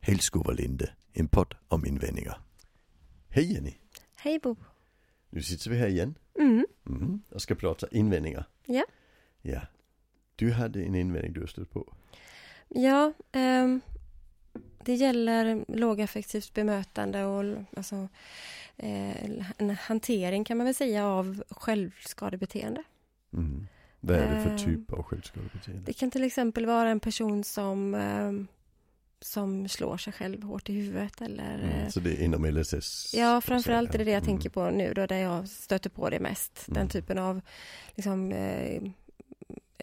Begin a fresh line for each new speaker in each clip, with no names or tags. Filskovalinde, en podd om invändningar. Hej Jenny,
Hej Bo.
nu sitter vi här igen
Mm.
mm. och ska prata invändningar.
Ja.
Ja. Du hade en invändning du har stött på.
Ja, ehm, det gäller lågaffektivt bemötande och l- alltså, eh, en hantering kan man väl säga av självskadebeteende.
Mm. Vad är det för
Ehm,
typ av självskadebeteende?
Det kan till exempel vara en person som, ehm, som slår sig själv hårt i huvudet eller eh,
Mm. Så det är inom LSS?
Ja, framförallt är det det jag
Mm.
tänker på nu då, där jag stöter på det mest.
Mm.
Den typen av liksom, eh,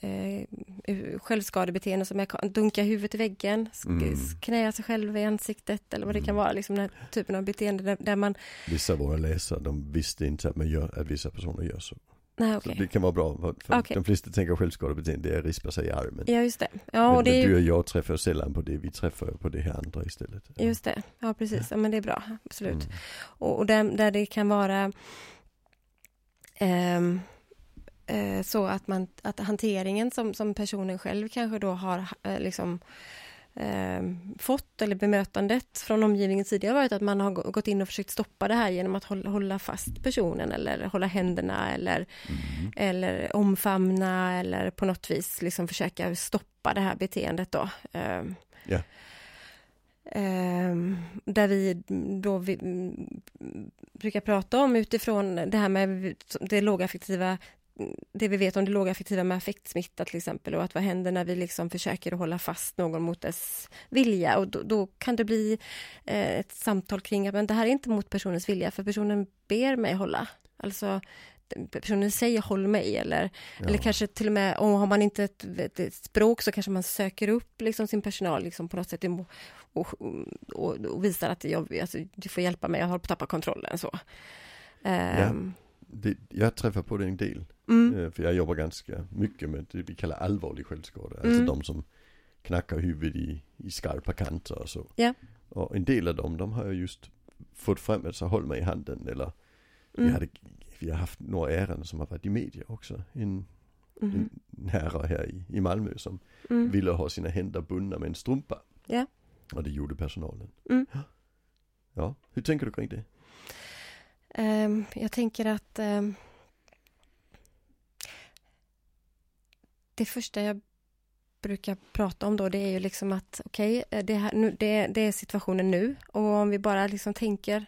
eh, u- självskadebeteende som jag kan dunka huvudet i väggen, sk-
Mm.
sk- knäa sig själv i ansiktet eller vad det
Mm.
kan vara, liksom den här typen av beteende där, där man,
Vissa av våra läsare, de visste inte att, man gör, att vissa personer gör så.
nej
Så
okej,
det kan vara bra, för- för
Okej.
de flesta tänker självskadebeteende, det är att rispa sig i armen.
ja just det. Ja,
men,
och det är
men
ju,
du och jag träffar sällan på det, vi träffar på det här andra istället.
just det, ja precis, ja, men det är bra, absolut.
Mm.
Och, och där, där det kan vara ehm, eh, så att, man, att hanteringen som, som personen själv kanske då har eh, liksom, ehm, fått eller bemötandet från omgivningen tidigare har varit att man har gå- gått in och försökt stoppa det här genom att hålla, hålla fast personen eller hålla händerna eller,
Mm.
eller omfamna eller på något vis liksom försöka stoppa det här beteendet då. Ehm,
Ja.
Ehm, där vi då vi, mm, brukar prata om utifrån det här med det lågaffektiva, det vi vet om det lågaffektiva med affektsmitta till exempel och att vad händer när vi liksom försöker att hålla fast någon mot dess vilja och då, då kan det bli eh, ett samtal kring att men det här är inte mot personens vilja för personen ber mig hålla. Alltså personen säger håll mig eller, eller
Ja.
kanske till och med, och har man inte ett, ett, ett språk så kanske man söker upp liksom sin personal liksom på något sätt emo- och, och, och visar att jag, alltså, du får hjälpa mig, jag håller på att tappa kontrollen så. Ehm,
Det, jag träffar på det en del,
mm,
eh, för jag jobbar ganska mycket med det vi kallar allvarlig självskada. Alltså
Mm.
de som knackar huvudet i, i skarpa kanter och så.
Ja.
Och en del av dem, de har jag just fått fram att så håll mig i handen eller vi,
mm,
hade, vi har haft några ärenden som har varit i media också. En,
mhm,
en herre här i, i Malmö som
mm,
ville ha sina händer bundna med en strumpa.
Ja.
Och det gjorde personalen.
Mm.
Ja, hur tänker du kring det?
Ehm, jag tänker att ehm, det första jag brukar prata om då, det är ju liksom att okej, eh, det, här- nu- det, det är situationen nu och om vi bara liksom tänker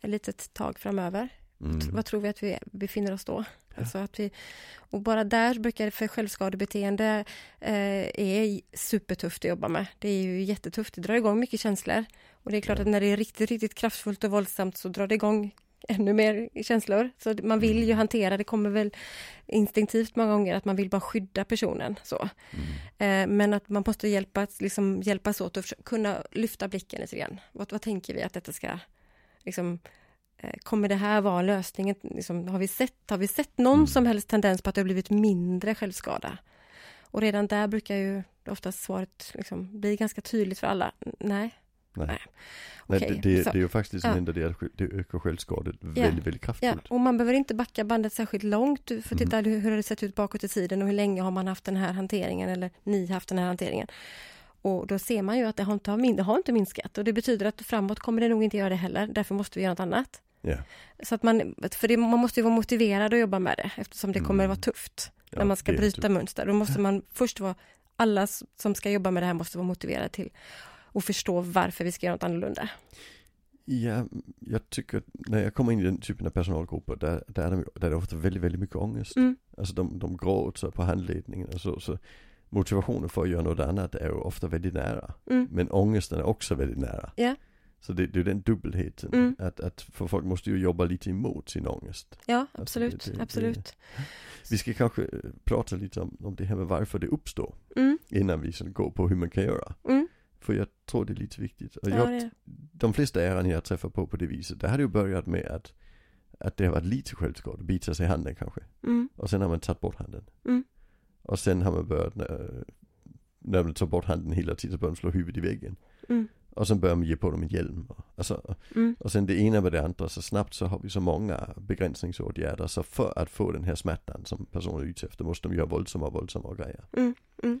ett litet tag framöver,
Mm.
vad tror vi att vi befinner oss då? Alltså att vi, och bara där brukar det för självskadebeteende eh, är supertufft att jobba med. Det är ju jättetufft, det drar igång mycket känslor. Och det är klart
Ja.
att när det är riktigt, riktigt kraftfullt och våldsamt så drar det igång ännu mer känslor. Så att man vill ju hantera, det kommer väl instinktivt många gånger att man vill bara skydda personen. Så. Eh, men att man måste hjälpas, liksom, hjälpas åt att försö- kunna lyfta blicken lite grann. Vad, vad tänker vi att detta ska liksom, eh, Kommer det här vara lösningen? Liksom, har, vi sett, har vi sett någon
Mm.
som helst tendens på att det har blivit mindre självskada? Och redan där brukar ju oftast svaret liksom, bli ganska tydligt för alla. N- Nej.
Nej. Nej,
Okej,
det, det,
så-
det är ju faktiskt det som
ja.
händer, det, är att sk- det ökar självskadet väldigt, väldigt
Ja,
kraftfullt.
och man behöver inte backa bandet särskilt långt. Du får titta
Mm.
hur, hur har det sett ut bakåt i tiden och hur länge har man haft den här hanteringen eller ni haft den här hanteringen. Och då ser man ju att det har inte, har min- det har inte minskat och det betyder att framåt kommer det nog inte göra det heller. Därför måste vi göra något annat.
Ja.
Så att man, för det, man måste ju vara motiverad att jobba med det eftersom det kommer
Mm.
att vara tufft
Ja,
när man ska
det är
bryta
typ-
mönster. Då måste man först vara, alla s- som ska jobba med det här måste vara motiverade till och förstå varför vi ska göra något annorlunda.
Ja, jag tycker, när jag kommer in i den typen av personalgrupper, där, där, är, de, där är det ofta väldigt, väldigt mycket ångest.
Mm.
Alltså de, de gråter på handledningen och så, så motivationen för att göra något annat är ju ofta väldigt nära.
Mm.
Men ångesten är också väldigt nära.
Ja.
Så det, det är den dubbelheten.
Mm.
Att, att, för folk måste ju jobba lite emot sin ångest.
Ja,
det-
absolut,
det- det-
absolut.
Vi ska kanske eh, prata lite om, om det här med varför det uppstår.
Mm,
Innan vi sen går på hur man kan göra.
mm.
För jag tror det är lite viktigt. Och
Ja,
jag,
det är det.
de flesta ärenden jag träffar på på det viset, det har det ju börjat med att, att det har varit lite självskott, bita sig i handen kanske.
Mm,
Och sen har man tagit bort handen.
Mm.
Och sen har man börjat, när, när man tar bort handen hela tiden så börjar man slå huvudet i väggen.
mm,
Och sen börjar man ge på dem en hjälm. Och, alltså,
mm,
och sen det ena med det andra, så snabbt så har vi så många begränsningsåtgärder. Så för att få den här smärtan som personen är ute efter måste de göra våldsamma och våldsamma grejer.
mm, mm.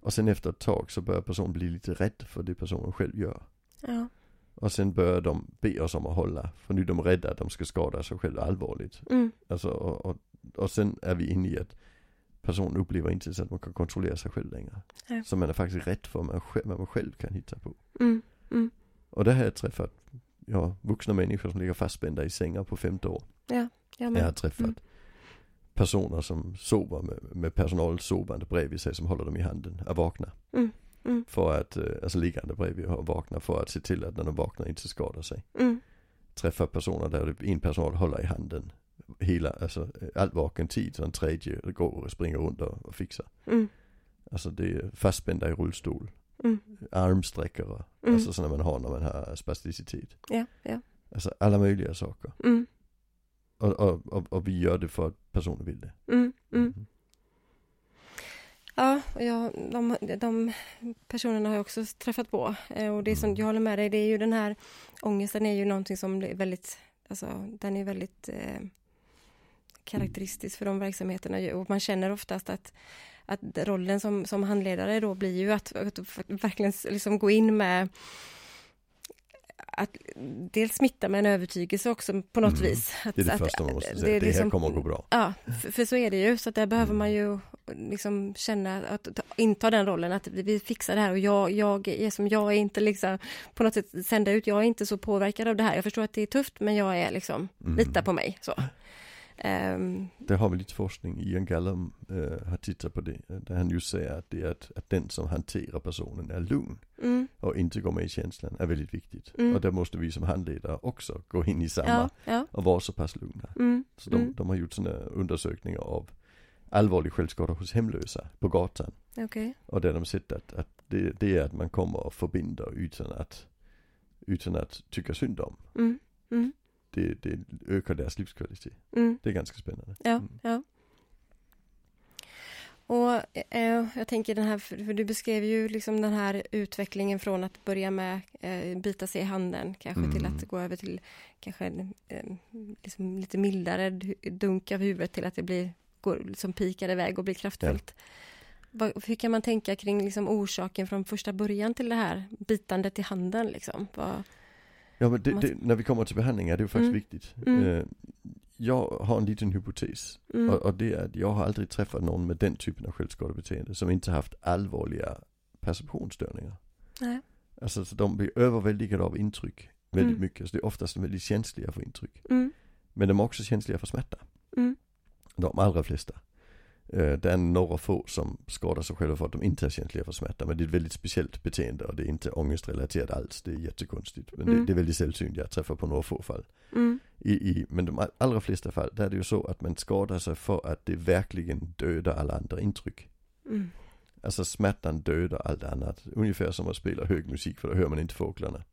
Och sen efter ett tag så börjar personen bli lite rädd för det personen själv gör.
Ja.
Och sen börjar de be oss om att hålla. För nu är de rädda att de ska skada sig själva allvarligt.
Mm.
Alltså, och, och, och sen är vi inne i att personen upplever inte så att man kan kontrollera sig själv längre.
Nej.
Så man är faktiskt rädd för vad man själv, vad man själv kan hitta på.
Mm. Mm.
Och det har jag träffat, ja, vuxna människor som ligger fastspända i sängar på femte år.
Ja,
Jag har
men.
träffat
Mm.
personer som sover med, med personal sovande bredvid sig som håller dem i handen, är vakna.
Mm, mm.
För att, eh, alltså liggande bredvid och vakna för att se till att när de vaknar inte skadar sig.
Mm.
Träffar personer där en personal håller i handen hela, alltså eh, all vaken tid så en tredje går och springer runt och, och fixar.
Mm.
Alltså det är fastspända i rullstol,
Mm.
armsträckare,
Mm.
alltså sådana man har när man har spasticitet.
Ja, ja.
Alltså alla möjliga saker.
Mm.
Och, och, och, och vi gör det för att personen vill det.
Mm. Mm. Ja, och jag, de, de personerna har jag också träffat på. Eh, Och det som jag håller med dig, det är ju den här ångesten är ju någonting som är väldigt, alltså den är väldigt eh, karaktäristisk för de verksamheterna ju. och man känner oftast att, att rollen som, som handledare då blir ju att, att verkligen liksom gå in med att dels smitta med en övertygelse också på något
Mm.
vis. Att,
Det är det
att,
första man måste
det
säga,
är
det, här
liksom-
kommer att gå bra.
Ja, för, för så är det ju. Så att där behöver man ju liksom känna att ta, inta den rollen att vi fixar det här och jag, jag är som jag är inte liksom på något sätt sända ut. Jag är inte så påverkad av det här. Jag förstår att det är tufft, men jag är liksom
Mm.
lita på mig så. Ehm,
Det har vi lite forskning, Ian Gallum eh, har tittat på det, där han just säger att det är att, att den som hanterar personen är lugn
mm,
och inte går med i känslan är väldigt viktigt.
Mm.
Och där måste vi som handledare också gå in i samma
ja, ja,
och vara så pass lugna.
mm,
Så de,
Mm.
de har gjort øh, sådana undersökningar av allvarlig självskada hos hemlösa på gatan.
okej.
Och där de sett att, att det, det är att man kommer och förbinder utan att, utan att tycka synd om.
Mm, mm,
Det, det ökar deras livskvalitet.
mm,
Det är ganska spännande.
ja,
Mm.
ja. Och eh, jag tänker den här, för för du beskrev ju liksom den här utvecklingen från att börja med eh, bita sig i handen kanske till
Mm.
att gå över till kanske en, eh, liksom lite mildare du- dunk av huvudet till att det blir, går, liksom pikar iväg och blir kraftfullt. Vad, hur kan man tänka kring liksom orsaken från första början till det här bitandet i handen liksom? Vad,
Ja men det,
Man-
det, när vi kommer till behandlingar, det är ju faktiskt
Mm.
viktigt.
Mm.
Eh, Jag har en liten hypotes
mm,
och, och det är att jag har aldrig träffat någon med den typen av självskadebeteende som inte haft allvarliga perceptionsstörningar.
Nej.
Alltså så de blir överväldigade av intryck väldigt
Mm.
mycket, så det är oftast väldigt känsliga för intryck.
mm,
Men de är också känsliga för smärta,
mm,
de allra flesta. Eh, Det är några få som skadar sig själva för att de inte är känsliga för smärta. Men det är ett väldigt speciellt beteende och det är inte ångestrelaterat alls. Det är jättekonstigt. Men det,
Mm.
det är väldigt sällsynt. Jag träffar på några få fall.
mm,
I, i, men de all- allra flesta fall, där är det ju så att man skadar sig för att det verkligen dödar alla andra intryck.
mm,
Alltså smärtan dödar allt annat. Ungefär som att spela hög musik för då hör man inte fåglarna.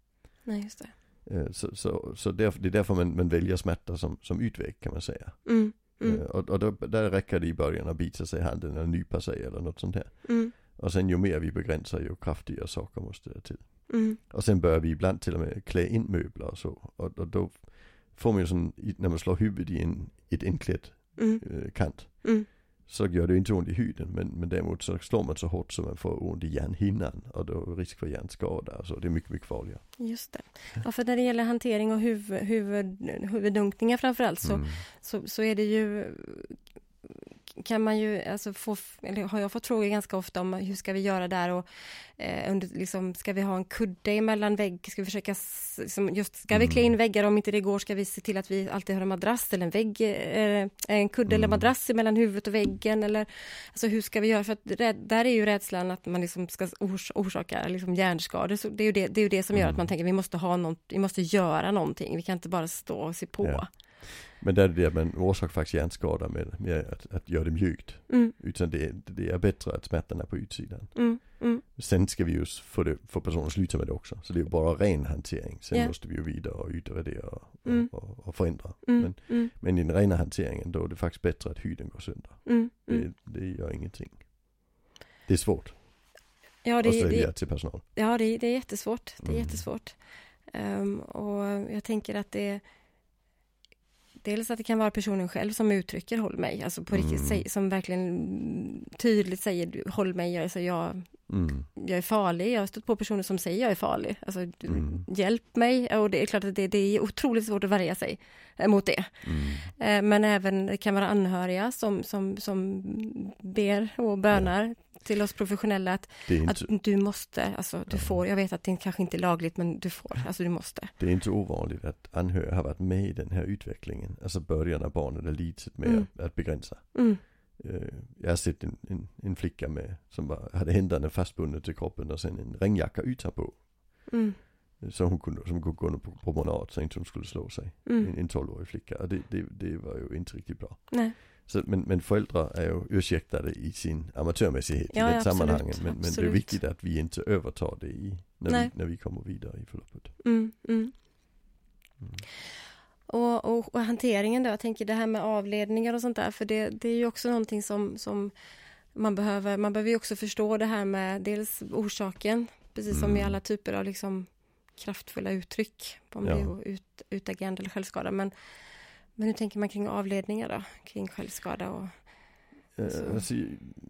nej just det.
Eh, Så, så, så därför, det är därför man, man väljer smärta som, som utväg kan man säga.
Mm, mm,
Eh, Och, och då, där räcker det i början att bita sig i handen eller nypa sig eller något sånt här.
mm,
Och sen ju mer vi begränsar ju kraftigare saker måste det till.
mm,
Och sen börjar vi ibland till och med klä in möbler och så. Och, och då får man ju sån, i- när man slår huvudet i en, ett inklätt
mm,
eh, kant.
mm,
Så gör det ju inte ont i huden men, men däremot så slår man så hårt så man får ont i hjärnhinnan och då är det risk för hjärnskada och så. Det är mycket, mycket farligare.
just det. Ja, för när det gäller hantering och huvud, huvud, huvuddunkningar framförallt så,
Mm.
så, så är det ju kan man ju, alltså få, eller har jag fått frågor ganska ofta om hur ska vi göra där och eh, under, liksom, ska vi ha en kudde emellan vägg, ska vi försöka, s- liksom, just, ska vi klä in väggar om inte det går, ska vi se till att vi alltid har en madrass eller en vägg, eh, en kudde eller madrass mellan huvudet och väggen eller, alltså hur ska vi göra, för att räd, där är ju rädslan att man liksom ska ors, orsaka liksom hjärnskador, så det är ju det, det, är ju det som gör att man tänker vi måste ha något, vi måste göra någonting, vi kan inte bara stå och se på.
Ja. Men där är det det att man orsakar faktiskt hjärnskada med, med att, att göra det mjukt.
Mm,
Utan det, det är bättre att smärtan är på utsidan.
mm, mm,
Sen ska vi ju få, det, få personen att sluta med det också. Så det är ju bara ren hantering. Sen
Ja.
måste vi ju vidare och utvärdera och,
Mm.
och, och, och förändra.
mm,
Men,
mm,
men i den rena hanteringen då är det faktiskt bättre att huden går sönder.
mm, mm.
Det, det gör ingenting. Det är svårt
Ja,
att
det,
sälja
det,
till personal.
ja det, det är jättesvårt. Det är
Mm.
jättesvårt. Ehm, och jag tänker att det... Dels att det kan vara personen själv som uttrycker håll mig, alltså på riktigt,
Mm.
säg, som verkligen tydligt säger du, håll mig, alltså jag,
Mm.
jag är farlig. Jag har stött på personer som säger jag är farlig. Alltså,
Mm.
hjälp mig. Och det är klart att det, det är otroligt svårt att värja sig eh, mot det.
Mm.
Eh, Men även det kan vara anhöriga som, som, som ber och bönar till oss professionella att,
Det, är
att
inte,
du måste, alltså du
Ja.
får, jag vet att det kanske inte är lagligt men du får, alltså du måste.
det är inte ovanligt att anhöriga har varit med i den här utvecklingen. Alltså början när barnet är litet med
Mm.
att- att begränsa.
Mm.
Eh, Jag har sett en, en, en flicka med, som bara hade händerna fastbundna till kroppen och sen en regnjacka yta på.
Mm.
Så hon kunde, som kunde gå under på promenad så inte hon skulle slå sig.
Mm.
En, en 12-årig flicka. Och det, det, det var ju inte riktigt bra.
Nej.
Så, men, men föräldrar är ju ursäktade i sin amatörmässighet
Ja,
i det
absolut,
sammanhanget. Men, men det är
absolut.
viktigt att vi inte övertar det i, när, vi,
Nej.
när vi kommer vidare i förloppet.
Mm. Mm.
Mm.
Och, och, och hanteringen då, jag tänker det här med avledningar och sånt där, för det, det är ju också någonting som, som man behöver, man behöver ju också förstå det här med dels orsaken, precis som i
Mm.
alla typer av liksom kraftfulla uttryck, om det
Ja.
är ut, utagerande eller självskada, men, men hur tänker man kring avledningar då, kring självskada och...
Eh,
Så.
Alltså,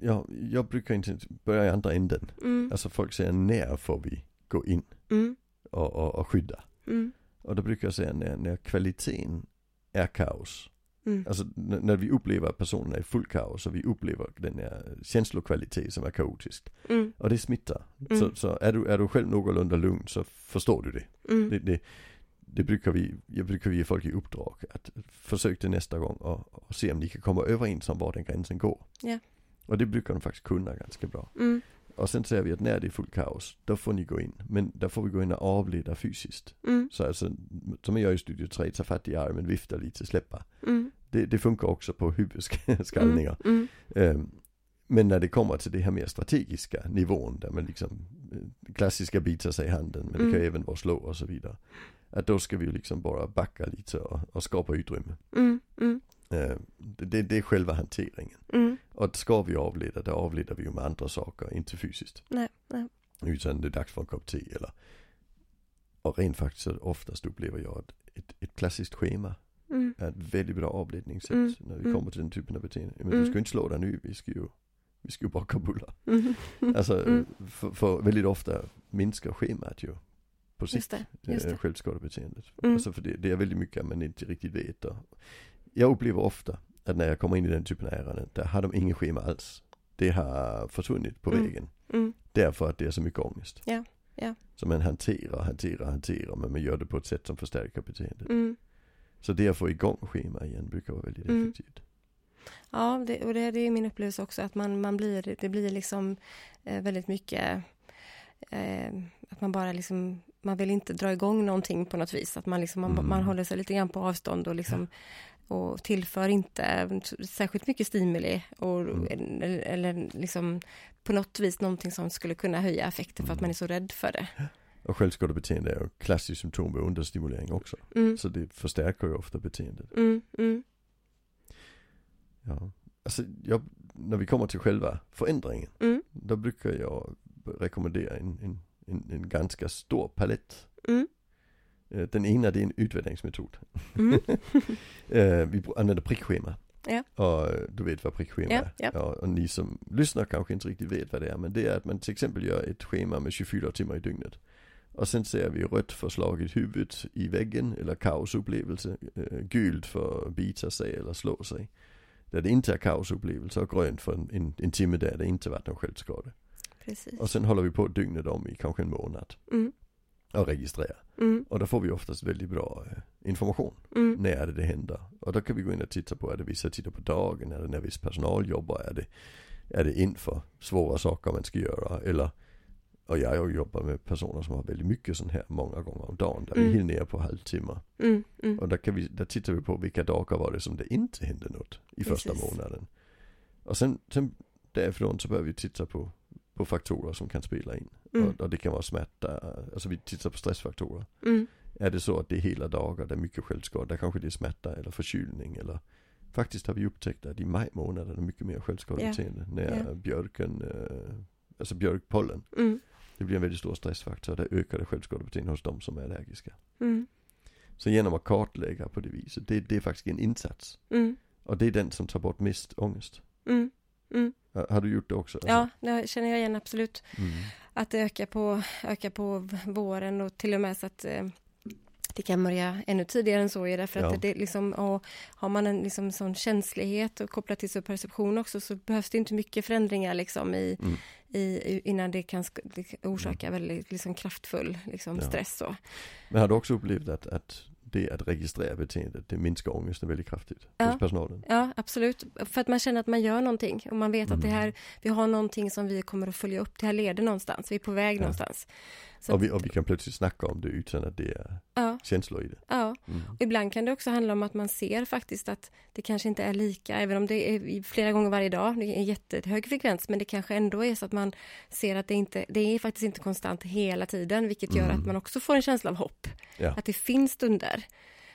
jag, jag brukar inte börja i andra änden.
Mm,
Alltså folk säger när får vi gå in
mm,
och, och, och skydda?
mm,
Och då brukar jag säga när, när kvaliteten är kaos.
mm,
Alltså n- när vi upplever att personen är i full kaos och vi upplever den här känslokvalitet som är kaotisk.
mm,
Och det smittar.
Mm.
Så, så är, du, är du själv någorlunda lugn så förstår du det. Det,
mm,
det, det brukar vi, jag brukar vi ge folk i uppdrag att försök det nästa gång och, och se om ni kan komma överens om var den gränsen går.
Ja.
Och det brukar de faktiskt kunna ganska bra.
mm,
Och sen säger vi att när det är fullt kaos, då får ni gå in. Men där får vi gå in och avleda fysiskt.
mm,
Så alltså, som jag gör i Studio 3, ta fatt i armen, vifta lite, släppa.
mm,
Det, det funkar också på huvudskallningar.
mm,
Ehm, Men när det kommer till det här mer strategiska nivån där man liksom eh, klassiska bitar sig i handen men det kan
Mm.
även vara slå och så vidare. Att då ska vi ju liksom bara backa lite och, och skapa utrymme.
mm, mm,
Ehm, Det, det, det är själva hanteringen.
mm,
Och att ska vi avleda, då avleder vi ju med andra saker, inte fysiskt.
nej, nej,
Utan det är dags för en kopp te eller och rent faktiskt så oftast upplever jag att ett, ett klassiskt schema
mm,
är ett väldigt bra avledningssätt
Mm,
när vi
mm.
kommer till den typen av beteende. Men du
Mm.
ska ju inte slå dig nu, vi ska ju, vi ska ju baka bullar.
mm,
Alltså
Mm.
för, för väldigt ofta minskar schemat ju på
just
sikt
det, just
eh,
det.
självskadebeteendet.
Mm.
Alltså för det, det är väldigt mycket man inte riktigt vet. Och jag upplever ofta att när jag kommer in i den typen av ärenden, där har de ingen schema alls. Det har försvunnit på
Mm.
vägen.
Mm,
Därför att det är så mycket ångest.
Ja, ja.
Så man hanterar, hanterar, hanterar men man gör det på ett sätt som förstärker beteendet.
mm.
Så det att få igång schema igen brukar vara väldigt
Mm.
effektivt.
Ja, det, och det, det är min upplevelse också att man, man blir, det blir liksom eh, väldigt mycket eh, att man bara liksom, man vill inte dra igång någonting på något vis, att man liksom, man,
Mm.
man håller sig lite grann på avstånd och liksom och tillför inte särskilt mycket stimuli och,
Mm.
eller, eller liksom på något vis någonting som skulle kunna höja effekten för att
Mm.
man är så rädd för det.
Och självskadebeteende är ju ett klassiskt symptom på understimulering också.
Mm,
Så det förstärker ju ofta beteendet.
mm, mm,
Ja. Alltså, jag, när vi kommer till själva förändringen,
Mm.
då brukar jag rekommendera en, en, en, en ganska stor palett.
Mm.
Eh, Den ena det är en utvärderingsmetod.
mm,
Eh, Vi br- använder prickschema.
Ja.
Och eh, du vet vad prickschema
Ja,
är.
ja.
Och, och ni som lyssnar kanske inte riktigt vet vad det är. Men det är att man till exempel gör ett schema med 24 timmar i dygnet. Och sen ser vi rött för slaget huvudet i väggen eller kaosupplevelse. eh, Gult för bita sig eller slå sig. Där det inte är kaosupplevelse och grönt för en, en, en timme där det inte varit någon självskada.
precis.
Och sen håller vi på dygnet om i kanske en månad
Mm,
och registrerar.
mm,
Och då får vi oftast väldigt bra eh, information
mm,
när är det det händer? Och då kan vi gå in och titta på, är det vissa tider på dagen? Är det när viss personal jobbar? Är det, är det inför svåra saker man ska göra? Eller, och jag har ju jobbat med personer som har väldigt mycket sån här många gånger om dagen. Där vi är
Mm.
helt nere på halvtimmar.
mm, mm,
Och där, kan vi, där tittar vi på vilka dagar var det som det inte hände något i första
Precis.
månaden. Och sen, sen därifrån så börjar vi titta på, på faktorer som kan spela in.
mm,
Och, och det kan vara smärta, alltså vi tittar på stressfaktorer.
mm,
Är det så att det är hela dagar, där mycket självskada, där kanske det är smärta eller förkylning eller Faktiskt har vi upptäckt att i maj månad är det mycket mer självskadebeteende när
Ja.
björken, eh, alltså björkpollen,
mm,
det blir en väldigt stor stressfaktor. Där ökar det självskadebeteende hos de som är allergiska.
mm,
Så genom att kartlägga på det viset, det, det är faktiskt en insats.
mm,
Och det är den som tar bort mest ångest.
mm, Mm.
Ha- Har du gjort det också? Alltså,
Ja, det känner jag igen absolut.
Mm.
Att det ökar på, ökar på v- våren och till och med så att eh, det kan börja ännu tidigare än så. Är det, för att
Ja.
det, det liksom, och har man en liksom, sån känslighet och kopplat till så perception också så behövs det inte mycket förändringar liksom, i,
Mm.
i, i- innan det kan sk- det orsaka väldigt liksom, kraftfull liksom,
Ja.
stress. Så.
Men har du också upplevt att, att det att registrera beteendet, det minskar ångesten väldigt kraftigt
Ja.
hos personalen?
Ja, absolut. För att man känner att man gör någonting och man vet att det
Mm.
här, vi har någonting som vi kommer att följa upp. Det här leder någonstans, vi är på väg
Ja.
någonstans. Så
Och vi,
att-
och vi kan plötsligt snacka om det utan att det är
Ja,
känslor i det.
ja.
Mm.
Ibland kan det också handla om att man ser faktiskt att det kanske inte är lika, även om det är flera gånger varje dag, det är en jättehög frekvens, men det kanske ändå är så att man ser att det inte, det är faktiskt inte konstant hela tiden, vilket gör
Mm.
att man också får en känsla av hopp,
Ja.
att det finns stunder.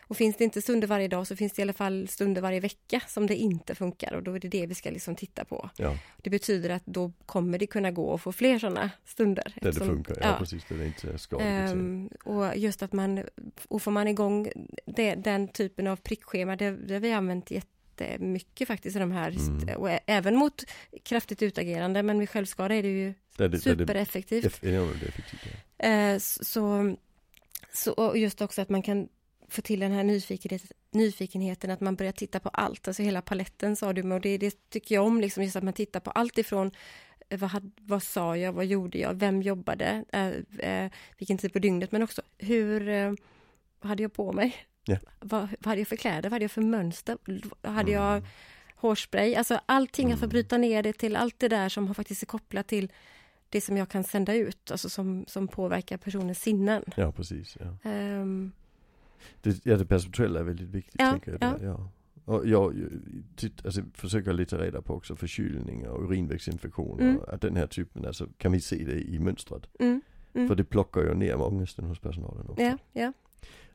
Och finns det inte stunder varje dag så finns det i alla fall stunder varje vecka som det inte funkar och då är det det vi ska liksom titta på.
Ja,
Det betyder att då kommer det kunna gå att få fler sådana stunder.
där det
eftersom-
funkar. Ja, precis. Där det inte är skadligt. beteende.
Ehm, och just att man, och får man igång det, den typen av prickschema, det, det har vi använt jättemycket faktiskt i de här,
Mm.
och ä- även mot kraftigt utagerande, men vid självskada är det ju
där det, där det
supereffektivt.
eff- enormt effektivt. ja.
Eh, s- så, så, och just också att man kan få till den här nyfikenhet, nyfikenheten, att man börjar titta på allt, alltså hela paletten sa du, och det, det tycker jag om, liksom, just att man tittar på allt ifrån eh, vad, had, vad sa jag, vad gjorde jag, vem jobbade, eh, eh, vilken tid på dygnet, men också hur eh, vad hade jag på mig?
Ja.
Vad, vad hade jag för kläder, vad hade jag för mönster, Vad hade
Mm.
jag hårspray, alltså allting, att få
Mm.
bryta ner det till allt det där som har faktiskt är kopplat till det som jag kan sända ut, alltså som, som påverkar personens sinnen.
Ja, precis. Ja.
Ehm,
Det, ja, det perceptuella är väldigt viktigt.
Ja,
tänker jag.
ja.
där, ja. Och jag ju- titt, alltså, försöker lite reda på också förkylningar och urinvägsinfektioner.
Mm.
Att den här typen, alltså kan vi se det i mönstret?
mm, Mm.
För det plockar ju ner ångesten hos personalen också.
ja, ja,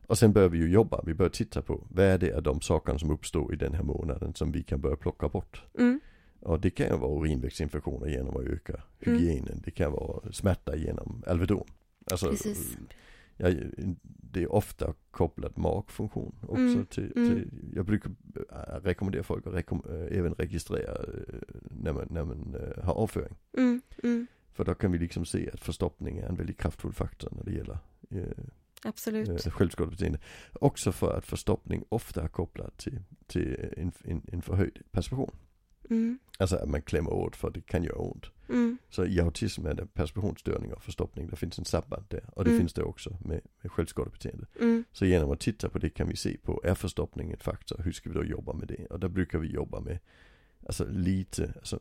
Och sen börjar vi ju jobba, vi börjar titta på vad är det av de sakerna som uppstår i den här månaden som vi kan börja plocka bort.
mm,
Och det kan ju vara urinvägsinfektioner genom att öka
Mm.
hygienen. Det kan vara smärta genom Alvedon. Alltså,
Precis.
ja, det är ofta kopplat magfunktion också.
Mm,
Till,
mm.
till, jag brukar eh, rekommendera folk att rekom- eh, även registrera eh, när man, när man eh, har avföring.
mm, mm,
För då kan vi liksom se att förstoppning är en väldigt kraftfull faktor när det gäller eh,
absolut.
eh, självskadebeteende. Också för att förstoppning ofta är kopplat till, till en, en, en förhöjd perception.
Mm,
Alltså att man klämmer åt för det kan göra ont.
mm,
Så i autism är det perceptionsstörning och förstoppning. Det finns en samband där. Och det
Mm.
finns det också med, med självskadebeteende.
mm,
Så genom att titta på det kan vi se på, är förstoppning en faktor? Hur ska vi då jobba med det? Och där brukar vi jobba med Alltså lite, alltså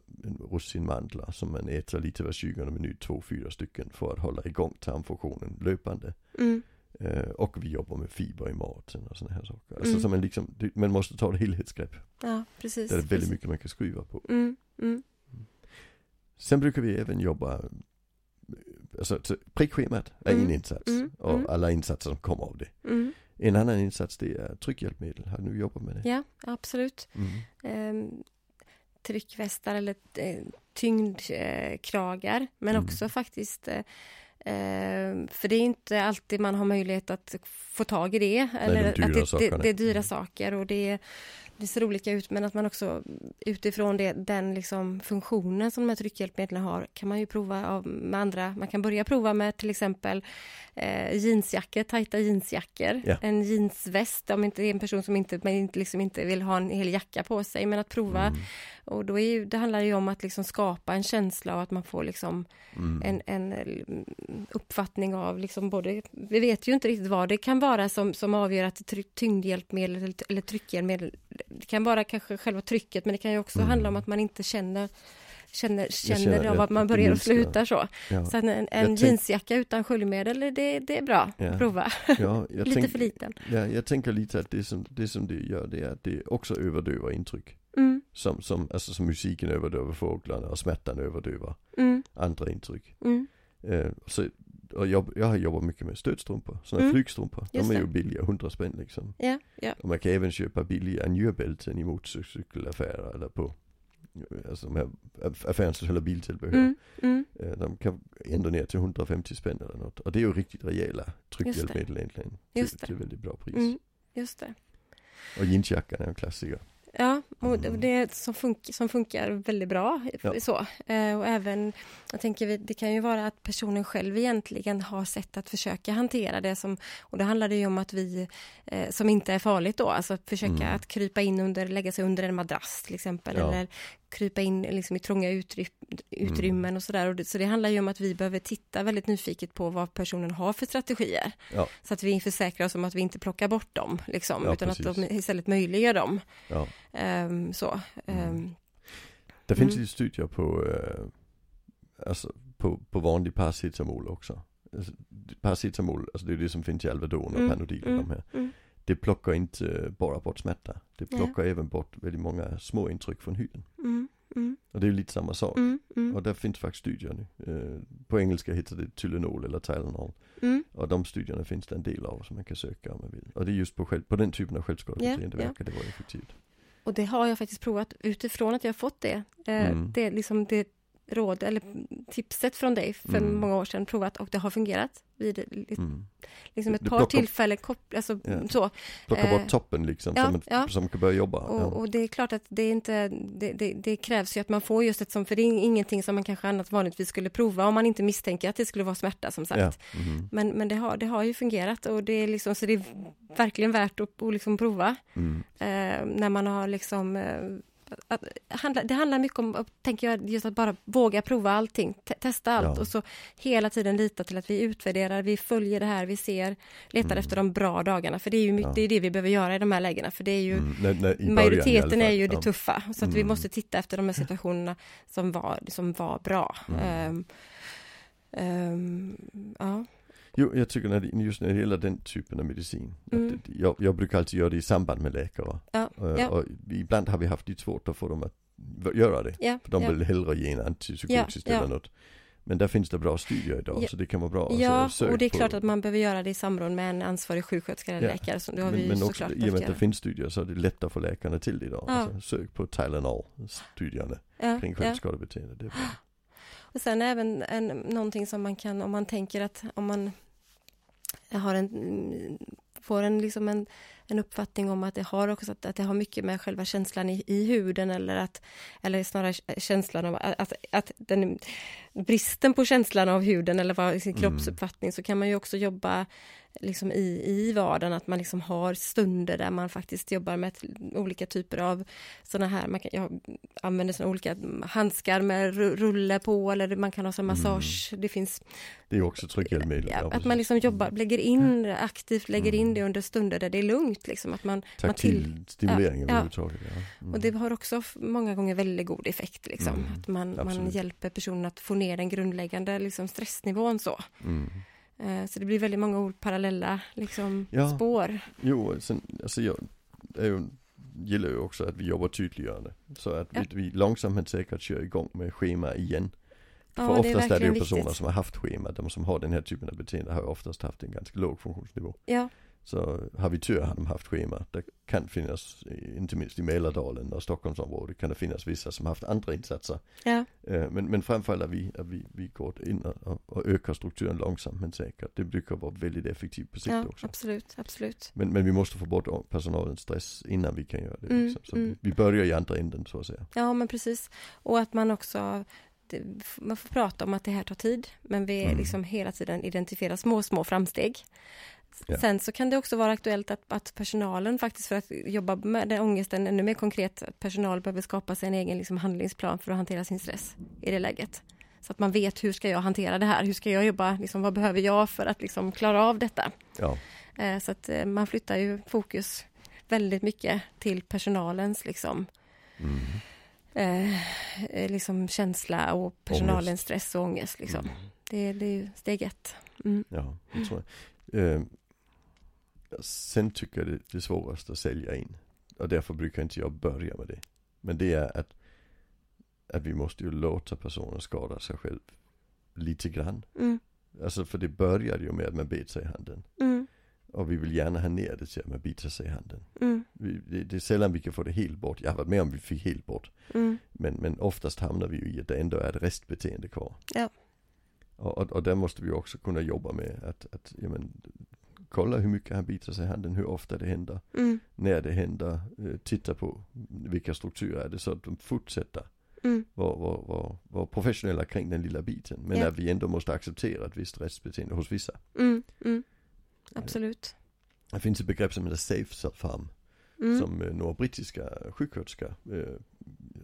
russinmandlar som man äter lite var 20 minut, två, fyra stycken för att hålla igång tarmfunktionen löpande.
mm,
Eh, och vi jobbar med fiber i maten och sådana här saker. Alltså
Mm.
så man liksom, det- man måste ta ett helhetsgrepp.
ja, precis.
Där det är väldigt
precis.
mycket man kan skruva på.
Mm, mm,
Sen brukar vi även jobba, eh, alltså så prickschemat är
Mm.
en insats.
Mm.
Och
Mm.
alla insatser som kommer av det.
mm,
En annan insats det är tryckhjälpmedel. Har du nu jobbat med det?
ja, absolut.
Mm.
Ehm, tryckvästar eller eh, tyngdkragar, men
Mm.
också faktiskt eh, eh, för det är inte alltid man har möjlighet att få tag i det. Eller
de dyra
att det, det,
sakerna.
det är dyra
Mm.
saker och det, det ser olika ut. Men att man också utifrån det, den liksom funktionen som de här tryckhjälpmedlen har kan man ju prova av, med andra. Man kan börja prova med till exempel eh, jeansjackor, tajta jeansjackor.
Ja.
En jeansväst om inte, det är en person som inte, man inte, liksom inte vill ha en hel jacka på sig. Men att prova,
Mm.
och då är ju, det handlar ju om att liksom skapa en känsla och att man får liksom
Mm.
en, en mm, uppfattning av liksom både, vi vet ju inte riktigt vad det kan vara som, som avgör att try, tyngdhjälpmedel eller, eller tryckhjälpmedel, det kan vara kanske själva trycket men det kan ju också
Mm.
handla om att man inte känner känner, känner,
känner
av
att
att man
det
börjar och
minskar.
slutar så.
Ja,
Så att en,
Jag
en
tänk-
jeansjacka utan sköljmedel, det, det är bra
Ja.
att prova.
ja, jag
Lite
tänk-
för liten.
Ja, jag tänker lite att det som, det som det gör det är att det också överdövar intryck.
Mm,
Som, som, alltså som musiken överdövar fåglarna och smärtan överdövar
mm,
andra intryck.
mm,
Eh, så, och jag, jag har jobbat mycket med stödstrumpor, sådana
Mm.
flygstrumpor.
Just
de är ju
det.
billiga, 100 spänn liksom.
ja, ja,
Och man kan även köpa billiga njurbälten i motorcykelaffärer eller på eh, alltså de här aff- affären som säljer biltillbehör.
mm, mm,
Eh, De kan ändå ner till 150 spänn eller något. Och det är ju riktigt rejäla tryckhjälpmedel egentligen.
Just
till,
det.
till väldigt bra pris.
mm, just det.
Och jeansjackan är en klassiker.
Ja, Och det- det är ett som, funk- som funkar väldigt bra.
Ja.
Så. Eh, Och även, jag tänker, vi- det kan ju vara att personen själv egentligen har sätt att försöka hantera det som, och då handlar det ju om att vi, eh, som inte är farligt då, alltså att försöka
Mm.
att krypa in under, lägga sig under en madrass till exempel,
Ja.
eller krypa in liksom i trånga utry- utrymmen
Mm.
och sådär. Och det- Så det handlar ju om att vi behöver titta väldigt nyfiket på vad personen har för strategier.
Ja.
Så att vi försäkrar oss om att vi inte plockar bort dem, liksom,
Ja,
utan att
precis.
de istället möjliggör dem.
Ja.
Ehm, så.
Mm.
Ehm,
Det finns
Mm.
ju studier på, eh, alltså på, på vanlig paracetamol också. Alltså, paracetamol, alltså det är det som finns i Alvedon och
Mm,
Panodil och
mm,
de här.
mm.
Det plockar inte bara bort smärta. Det
Nej.
plockar även bort väldigt många små intryck från huden.
mm, mm,
Och det är ju lite samma sak.
mm, mm,
Och där finns faktiskt studier nu. Eh, på engelska heter det Tylenol eller Tylenol.
mm.
Och de studierna finns det en del av som man kan söka om man vill. Och det är just på, själv, på den typen av självskadebeteende
Ja, ja.
verkar det vara effektivt.
Och det har jag faktiskt provat utifrån att jag har fått det. Eh,
Mm.
Det är liksom det råd eller tipset från dig för
Mm.
många år sedan provat och det har fungerat vid li-
Mm.
liksom
Det
ett par
plockar-
tillfällen. Koppl- alltså,
Ja.
så.
Plocka
Eh,
bort toppen liksom
ja,
som, ett,
ja.
som kan börja jobba.
Och,
Ja.
och det är klart att det, är inte, det, det, det krävs ju att man får just ett sånt, för det är ingenting som man kanske annat vanligtvis skulle prova om man inte misstänker att det skulle vara smärta som sagt.
Ja. Mhm.
Men, men det, har, det har ju fungerat och det är liksom, så det är verkligen värt att, att liksom prova.
Mm.
eh, när man har liksom... Eh, att, handla, det handlar mycket om, och tänker jag, just att bara våga prova allting, te- testa allt
Ja.
och så hela tiden lita till att vi utvärderar, vi följer det här, vi ser, letar
Mm.
efter de bra dagarna, för det är ju my-
Ja.
det, är det vi behöver göra i de här lägena, för det är ju
Mm, nej, nej, i början i alla fall.
Majoriteten är ju det
ja.
tuffa, så att vi
Mm.
måste titta efter de här situationerna som var, som var bra.
Mm.
Ehm, ehm, ja.
Jo, jag tycker när det, just när det gäller den typen av medicin. att
Mm.
det- Jag, jag brukar alltid göra det i samband med läkare.
Ja,
Och,
ja.
och ibland har vi haft lite svårt att få dem att v- göra det.
Ja,
För de
ja.
vill hellre ge en antipsykotisk
Ja, ja.
eller något. Men där finns det bra studier idag
Ja.
så det kan vara bra.
Ja,
alltså, sök
och det är
på-
klart att man behöver göra det i samråd med en ansvarig sjuksköterska eller
Ja.
läkare. Så det har
men,
vi
men
ju
också
såklart
i och med
behövt
att det
göra.
finns studier så är det lätt att få läkarna till det idag.
Ja.
Alltså, sök på Tylenol-studierna
Ah. Ja,
kring
ja.
självskadebeteende. Det är bra.
Och sen även en, någonting som man kan, om man tänker att om man har en, mm, får en, liksom en, en uppfattning om att det har också att, att det har mycket med själva känslan i, i huden eller att, eller snarare k- känslan av att, att, att den bristen på känslan av huden eller vad, sin kroppsuppfattning så kan man ju också jobba liksom i, i vardagen, att man liksom har stunder där man faktiskt jobbar med ett- olika typer av sådana här, man kan, jag använder såna olika handskar med ru- rulle på eller man kan ha sån massage, det finns
Det är också tryckhjälpmedel.
Ja, att
Mm. precis. Mm.
man liksom jobbar, lägger in, aktivt lägger in det under stunder där det är lugnt. Liksom, att man, man till,
Taktil stimulering
Ja, ja.
överhuvudtaget. Ja. Mm.
och det har också f- många gånger väldigt god effekt. Liksom,
Mm,
Att man, man
absolut.
hjälper personen att få ner den grundläggande liksom, stressnivån. Så.
Mm.
Eh, så det blir väldigt många ord, parallella liksom,
Ja.
spår.
Jo, och sen, alltså jag är ju, gillar ju också att vi jobbar tydliggörande. Så att
Ja.
vi, vi långsamt men säkert kör igång med schema igen.
Ja,
För
det är
oftast är det ju
verkligen
personer
viktigt.
som har haft schema. De som har den här typen av beteende har ju oftast haft en ganska låg funktionsnivå.
Ja,
Så har vi tur har de haft schema. Det kan finnas, eh, inte minst i Mälardalen och Stockholmsområdet, kan det finnas vissa som haft andra insatser.
ja,
Eh, Men, men framförallt att vi, att vi, vi går in och, och- och ökar strukturen långsamt men säkert. Det brukar vara väldigt effektivt på sikt
ja
också.
absolut. absolut.
Men, men vi måste få bort personalens stress innan vi kan göra det.
Mm,
liksom. Så
mm.
vi, vi börjar i andra änden så att säga.
Ja, men precis. Och att man också det, man får prata om att det här tar tid, men vi
Mm.
liksom hela tiden identifierar små, små framsteg.
Ja.
Sen så kan det också vara aktuellt att, att personalen faktiskt för att jobba med den ångesten ännu mer konkret, att personal behöver skapa sig en egen liksom handlingsplan för att hantera sin stress i det läget. Så att man vet hur ska jag hantera det här, hur ska jag jobba, liksom, vad behöver jag för att liksom klara av detta.
Ja,
Eh, Så att eh, man flyttar ju fokus väldigt mycket till personalens liksom,
Mm.
eh, eh, liksom känsla och personalens
Ångest.
stress och ångest. Liksom.
Mm.
Det, det är ju steg ett. Mm.
ja det tror jag. Eh, sen tycker jag det, det är svårast att sälja in. Och därför brukar inte jag börja med det. Men det är att, att vi måste ju låta personen skada sig själv lite grann.
Mm.
Alltså för det började ju med att man bet sig i handen.
Mm.
Och vi vill gärna ha ner det till att man biter sig i handen.
Mm.
Vi, det, det är sällan vi kan få det helt bort. Jag har varit med om vi fick helt bort.
Mm.
Men, men oftast hamnar vi ju i att det ändå är ett restbeteende kvar.
Ja.
Och, och, och där måste vi ju också kunna jobba med att, att ja, men, kolla hur mycket han biter sig i handen, hur ofta det händer,
Mm.
när det händer, eh, titta på vilka strukturer är det så att de fortsätter
Mm.
vara var, var, var professionella kring den lilla biten. Men
Ja.
att vi ändå måste acceptera ett visst rättsbeteende hos vissa.
Mm. Mm. Absolut.
Det finns ett begrepp som heter safe farm
Mm.
som eh, några brittiska sjuksköterskor, eh,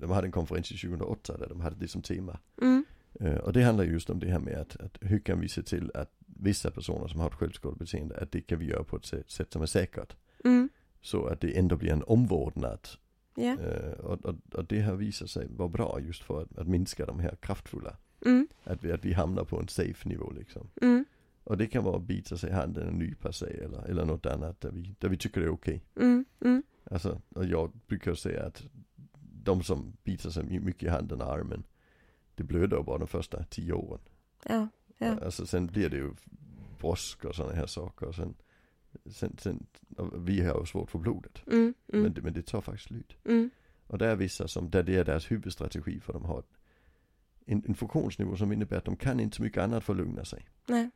de hade en konferens i 2008 där de hade liksom det som tema.
Mm.
Eh, Och det handlar just om det här med att, att hur kan vi se till att vissa personer som har ett självskadebeteende, att det kan vi göra på ett sätt, sätt som är säkert.
Mm.
Så att det ändå blir en omvårdnad.
Ja.
Eh, och, och, och det har visat sig vara bra just för att, att minska de här kraftfulla.
Mm.
Att vi, att vi hamnar på en safe nivå liksom.
Mm.
Och det kan vara att bita sig i handen och nypa sig eller, eller något annat där vi, där vi tycker det är okej.
Mm. Mm.
Alltså, och jag brukar säga att de som biter sig mycket i handen och armen, det blöder ju bara de första tio åren.
Ja. Ja.
Alltså sen blir det ju brosk och sådana här saker. Och sen, sen, sen, och vi har ju svårt för blodet.
Mm.
Men,
Mm.
det, men det tar faktiskt slut.
Mm.
Och där är vissa som, där det är deras huvudstrategi för de har en, en funktionsnivå som innebär att de kan inte så mycket annat för att lugna sig.
Nej.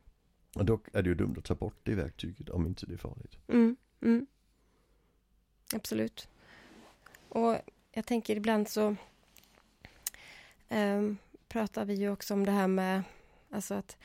Och då är det ju dumt att ta bort det verktyget om inte det är farligt.
Mm. Mm. Absolut. Och jag tänker ibland så ehm, pratar vi ju också om det här med alltså att,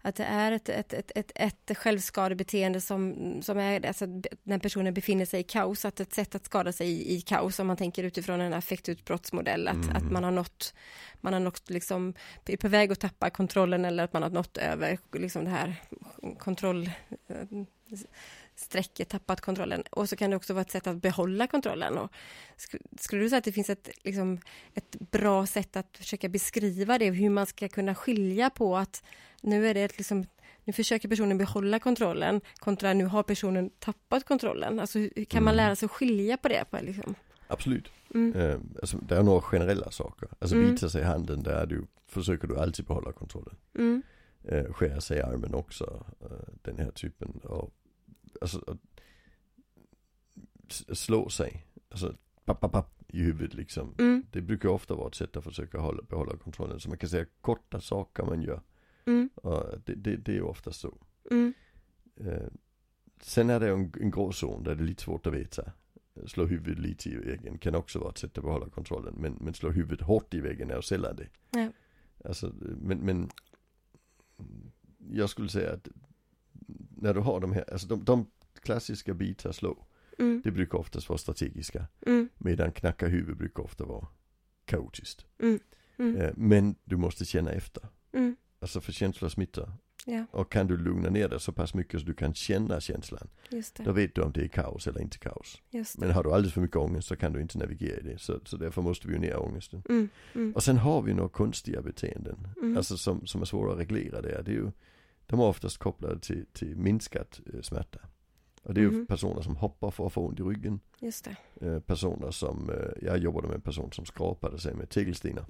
att det är ett, ett, ett, ett, ett självskadebeteende som, som är alltså att be- när personen befinner sig i kaos, att ett sätt att skada sig i, i kaos om man tänker utifrån en affektutbrottsmodell, att,
Mm.
att man har nått, man har nått liksom, är på väg att tappa kontrollen eller att man har nått över liksom det här kontroll eh, strecket, tappat kontrollen. Och så kan det också vara ett sätt att behålla kontrollen. Och sk- skulle du säga att det finns ett, liksom, ett bra sätt att försöka beskriva det, hur man ska kunna skilja på att nu är det ett, liksom, nu försöker personen behålla kontrollen kontra nu har personen tappat kontrollen. Alltså, hur- hur kan man
Mm.
lära sig att skilja på det? På, liksom?
Absolut.
Mm.
Eh, alltså, det är några generella saker. Alltså
Mm.
bita sig i handen, där är du, försöker du alltid behålla kontrollen.
Mm,
eh, skära sig i armen också. Eh, den här typen av, alltså att s- slå sig, alltså papp, papp, papp, i huvudet liksom.
mm,
Det brukar ofta vara ett sätt att försöka hålla, behålla kontrollen. Så man kan säga korta saker man gör.
mm,
Och det, det, det är ju ofta så.
mm,
Eh, sen är det ju en, en gråzon där det är lite svårt att veta. Slå huvudet lite i väggen kan också vara ett sätt att behålla kontrollen. Men, men slå huvudet hårt i väggen är ju sällan det.
Ja.
Alltså, men, men jag skulle säga att när du har de här, alltså de, de klassiska bitar slå,
mm,
det brukar oftast vara strategiska.
mm,
Medan knacka huvud brukar ofta vara kaotiskt.
mm,
Eh, men du måste känna efter.
mm,
Alltså för känslor smittar.
ja,
Och kan du lugna ner dig så pass mycket så du kan känna känslan.
just det.
Då vet du om det är kaos eller inte kaos.
Just det.
Men har du alldeles för mycket ångest så kan du inte navigera i det. Så, så därför måste vi ju ner ångesten.
Mm, mm,
Och sen har vi några konstiga beteenden.
Mm.
Alltså som, som är svåra att reglera det. är- det är ju, de är oftast kopplade till, till minskad eh, smärta. Och det är ju
Mhm.
personer som hoppar för att få ont i ryggen.
just det.
Eh, personer som, eh, jag jobbade med en person som skrapade sig med tegelstenar.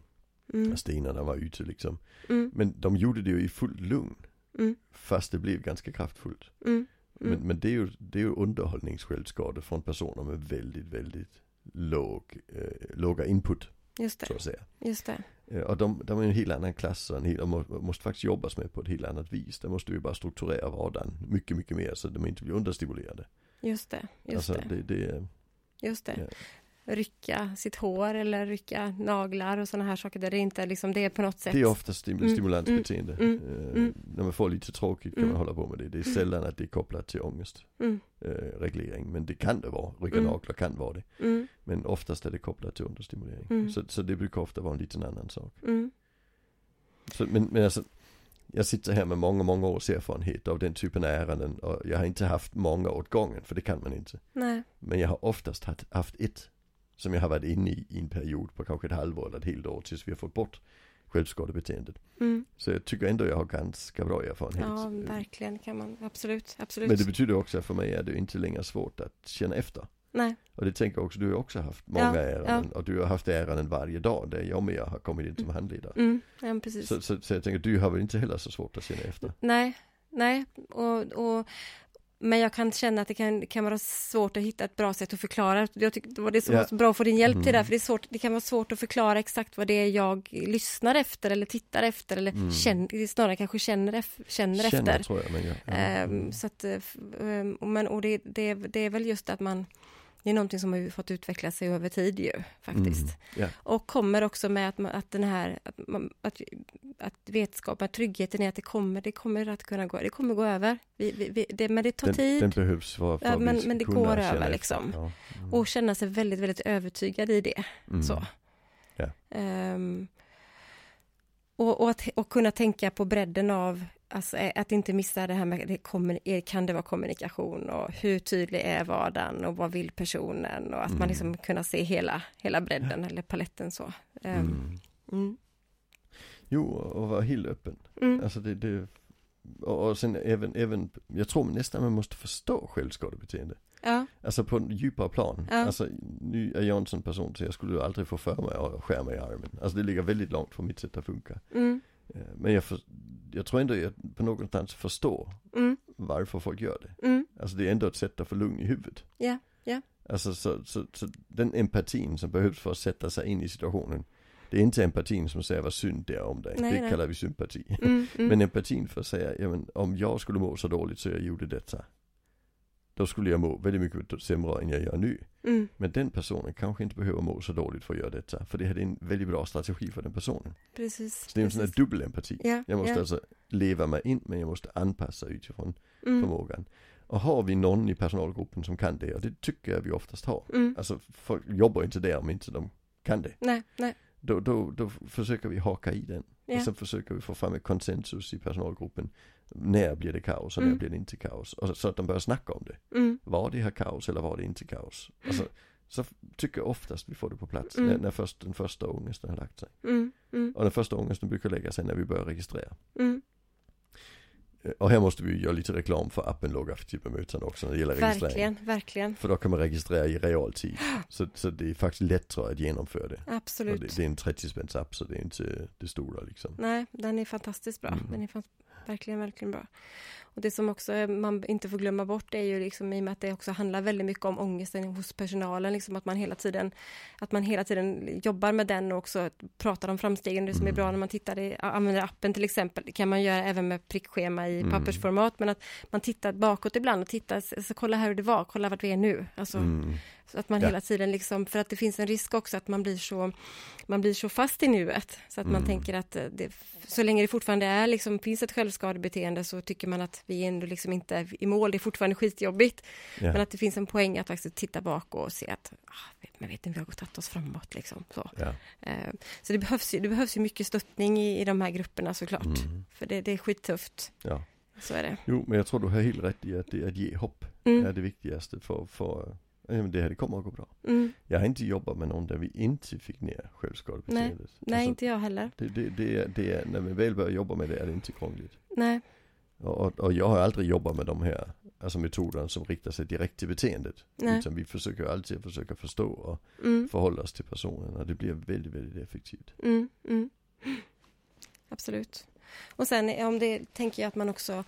Mm,
Stenarna var ute liksom.
mm,
Men de gjorde det ju i fullt lugn.
Mm.
Fast det blev ganska kraftfullt.
mm,
Men, men det är ju, det är ju underhållningssjälvskador från personer med väldigt, väldigt låg, eh, låga input
just
så
det.
att säga.
Just det.
Eh, och de, de är ju en helt annan klass och en helt, de må, måste faktiskt jobbas med på ett helt annat vis. Där måste vi bara strukturera vardagen mycket, mycket mer så att de inte blir understimulerade.
Just det, just
alltså
det.
det, det är-
Just det.
ja.
Rycka sitt hår eller rycka naglar och sådana här saker där det inte är liksom, det är på något sätt.
det är ofta stim,
Mm,
stimulansbeteende.
mm,
eh,
mm.
När man får lite tråkigt kan
Mm.
man hålla på med det. Det är sällan att det är kopplat till
Mm,
ångestreglering. men det kan det vara. Rycka
Mm.
naglar kan vara det.
mm,
Men oftast är det kopplat till understimulering.
Mm.
Så, så det brukar ofta vara en liten annan sak.
mm,
Så, men, men alltså, jag sitter här med många, många års erfarenhet av den typen av ärenden och jag har inte haft många åt gången, för det kan man inte.
nej,
Men jag har oftast haft, haft ett som jag har varit inne i i en period på kanske ett halvår eller ett helt år tills vi har fått bort självskadebeteendet.
mm.
Så jag tycker ändå jag har ganska bra erfarenhet.
Ja, verkligen kan man, absolut, absolut.
liksom, eh. men det betyder också att för mig är det inte längre svårt att känna efter.
Nej,
Och det tänker jag också, du har ju också haft många
Ja,
ärenden och du har haft ärenden varje dag där jag med har kommit in som handledare.
mm, ja, men precis.
Så, så, så jag tänker, du har väl inte heller så svårt att känna efter?
Nej, nej, och, och, Men jag kan känna att det kan, kan vara svårt att hitta ett bra sätt att förklara. Jag tycker det var det som
Ja.
var så bra att få din hjälp till det,
Mm.
här, för det, är svårt, det kan vara svårt att förklara exakt vad det är jag lyssnar efter eller tittar efter eller
Mm.
känner, snarare kanske känner, ef- känner efter.
Känner tror jag. Men ja. Ja.
Mm, Ehm,
Mm.
Så att, eh, f- ehm, och men, och det, det, är- det är väl just att man, det är någonting som har fått utveckla sig över tid ju, faktiskt.
Mm. Ja.
Och kommer också med att, man, att den här, att, man, att, att vetskapen, att tryggheten är att det kommer, det kommer att kunna gå, det kommer gå över. Vi, vi, vi, det, men det tar
Den,
tid
den behövs för, för
Ja,
att vi
men-
ska
men det
kunna
går
känna
över,
efter.
liksom.
Ja. Mm.
och känna sig väldigt, väldigt övertygad i det.
Mm.
Så.
Ja.
Ehm, och, och, att, och kunna tänka på bredden av, alltså, eh, att inte missa det här med, det kommer, eh, kan det vara kommunikation och hur tydlig är vardagen och vad vill personen och att
Mm.
man liksom kunna se hela, hela bredden eller paletten så. Ehm,
Mm.
mm.
Jo, och vara helt öppen.
Mm.
Alltså det, det och, och sen även, även, jag tror nästan man måste förstå självskadebeteende.
Ja,
Alltså på en djupare plan.
Ja.
Alltså nu är jag inte en sån person så jag skulle ju aldrig få för mig att skära mig i armen. Alltså det ligger väldigt långt från mitt sätt att funka.
mm,
Eh, Men jag, för, jag tror ändå jag på någonstans förstår
mm,
varför folk gör det.
mm,
Alltså det är ändå ett sätt att få lugn i huvudet.
ja, ja,
Alltså så, så, så den empatin som behövs för att sätta sig in i situationen. Det är inte empatin som säger vad synd det är om dig.
Nej,
det
nej.
kallar vi sympati.
mm, mm,
Men empatin för att säga, ja, men om jag skulle må så dåligt så jag gjorde detta. Då skulle jag må väldigt mycket sämre än jag gör nu.
mm,
Men den personen kanske inte behöver må så dåligt för att göra detta. För det här är en väldigt bra strategi för den personen.
precis.
Så det är en sån här
precis.
dubbel empati.
Ja,
Jag måste
ja,
alltså leva mig in men jag måste anpassa utifrån
mm,
förmågan. Och har vi någon i personalgruppen som kan det, och det tycker jag vi oftast har.
mm,
Alltså folk jobbar inte där om inte de kan det.
nej, nej,
Då, då, då försöker vi haka i den.
ja,
Och sen försöker vi få fram ett konsensus i personalgruppen. När blir det kaos och när
Mm.
blir det inte kaos? Och så, så att de börjar snacka om det.
mm,
Var det här kaos eller var det inte kaos? Alltså, så f- tycker jag oftast vi får det på plats
Mm.
när, när först, den första ångesten har lagt sig.
mm, mm,
Och den första ångesten brukar lägga sig när vi börjar registrera.
mm,
Eh, Och här måste vi ju göra lite reklam för appen Lågaffektivbemötande också när det gäller registrering.
verkligen, verkligen,
För då kan man registrera i realtid. Så, så det är faktiskt lättare att genomföra det. Och
absolut. Mm,
det, det är en 30 spänns app så det är inte det stora liksom.
Nej, den är fantastiskt bra.
Mm.
Den är fan, verkligen, verkligen bra. Och det som också eh, man inte får glömma bort är ju liksom i och med att det också handlar väldigt mycket om ångesten hos personalen, liksom att man hela tiden, att man hela tiden jobbar med den och också pratar om framstegen, det som är
Mm.
bra när man tittar i, använder appen till exempel, det kan man göra även med prickschema i
Mm.
pappersformat, men att man tittar bakåt ibland och tittar, så kolla här hur det var, kolla vart vi är nu. Alltså,
Mm.
så att man
Ja.
hela tiden liksom, för att det finns en risk också att man blir så, man blir så fast i nuet. Så att man
Mm.
tänker att eh, det, så länge det fortfarande är liksom, finns ett självskadebeteende så tycker man att vi är ändå liksom inte i mål, det är fortfarande skitjobbigt.
Ja.
Men att det finns en poäng att faktiskt titta bak och se att, ah, men vet ni, vi har tagit oss framåt liksom. Så,
Ja.
eh, så det, behövs ju, det behövs ju mycket stöttning i, i de här grupperna såklart.
Mm.
För det, det är skittufft,
ja.
så är det.
Jo, men jag tror du har helt rätt i att, det, att ge hopp
Mm,
är det viktigaste för, för ja, men det här det kommer att gå bra.
mm.
Jag har inte jobbat med någon där vi inte fick ner självskadebeteendet.
Nej,
Alltså,
inte jag heller.
det, det, det, är- det är, när vi väl börjar jobba med det är det inte krångligt.
Nej,
Och, och, och jag har aldrig jobbat med de här alltså metoderna som riktar sig direkt till beteendet.
Nej.
Utan vi försöker alltid att försöka förstå och
mm,
förhålla oss till personen och det blir väldigt, väldigt effektivt.
Mm, mm. Absolut. Och sen eh, om det tänker jag att man också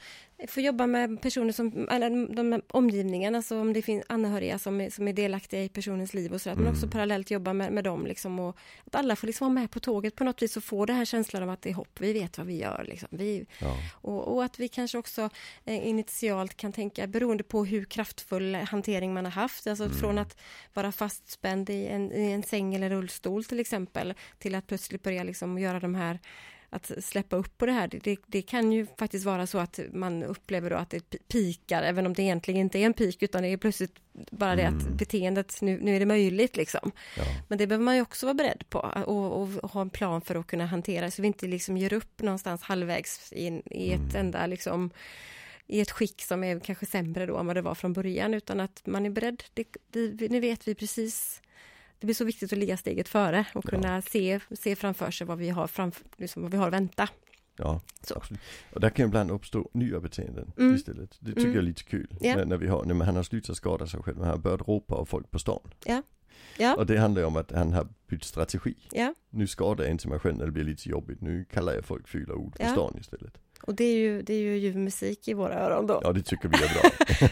får jobba med personer som, eller de här omgivningen, alltså om det finns anhöriga som är, som är delaktiga i personens liv och så, att man
Mm.
också parallellt jobba med, med dem liksom och att alla får liksom vara med på tåget på något vis och få det här känslan av att det är hopp, vi vet vad vi gör liksom. Vi,
Ja.
och, och att vi kanske också eh, initialt kan tänka, beroende på hur kraftfull hantering man har haft, alltså från att vara fastspänd i en, i en säng eller rullstol till exempel, till att plötsligt börja liksom göra de här att släppa upp på det här, det, det, det kan ju faktiskt vara så att man upplever då att det pi- pikar, även om det egentligen inte är en pik, utan det är plötsligt bara det att
Mm.
beteendet, nu, nu är det möjligt liksom.
Ja.
Men det behöver man ju också vara beredd på och, och, ha en plan för att kunna hantera så vi inte liksom ger upp någonstans halvvägs i, en- i ett
Mm.
enda liksom i ett skick som är kanske sämre då än vad det var från början utan att man är beredd. Det, det, nu vet vi precis det blir så viktigt att ligga steget före och
Ja.
kunna se, se framför sig vad vi har, framför, liksom vad vi har att vänta.
Ja,
Så.
absolut. Och där kan ibland uppstå nya beteenden
Mm.
istället. Det tycker
Mm.
jag är lite kul.
Ja.
När, när, vi har, när man- han har slutat skada sig själv, men han har börjat ropa av folk på stan.
Ja. Ja.
Och det handlar ju om att han har bytt strategi.
Ja,
Nu skadar jag inte mig själv när det blir lite jobbigt. Nu kallar jag folk fula ord på
Ja.
stan istället.
Och det är ju, det är ju ljuv musik i våra öron då.
Ja, det tycker vi är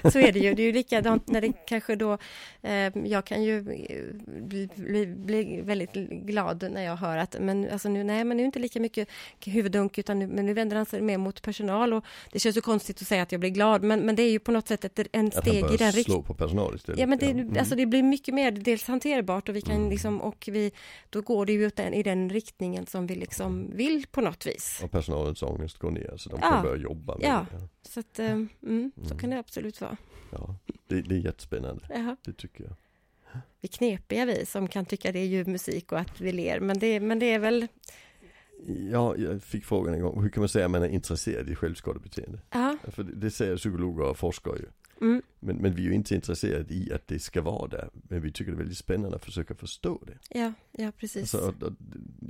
bra.
Så är det ju. Det är ju likadant när det kanske då... Eh, jag kan ju eh, bli, bli, bli väldigt glad när jag hör att men alltså nu, nej, men nu är det inte lika mycket huvudunk utan nu, men nu vänder han sig mer mot personal och det känns ju konstigt att säga att jag blir glad men, men det är ju på något sätt ett, en
Att han
steg i
börjar
den riktningen.
slå på personal istället.
Ja, men det,
Mm.
alltså det blir mycket mer dels hanterbart och vi kan
Mm.
liksom, och vi, då går det ju ut den, i den riktningen som vi liksom vill på något vis.
Och personalens ångest går ner så de
Ja.
kan börja jobba med
Ah. Ja.
det.
Så att, eh, mm, så kan det absolut vara.
Ja. Det, det är jättespännande,
Jaha.
det tycker jag.
Vi knepiga vi som kan tycka det är ljuv musik och att vi ler, men det, men det är väl,
Ja, jag fick frågan en gång, hur kan man säga att man är intresserad i självskadebeteende?
ja,
För det, det säger psykologer och forskare ju.
mm,
Men, men vi är ju inte intresserade i att det ska vara där. Men vi tycker det är väldigt spännande att försöka förstå det.
ja, ja precis.
Alltså, och, och,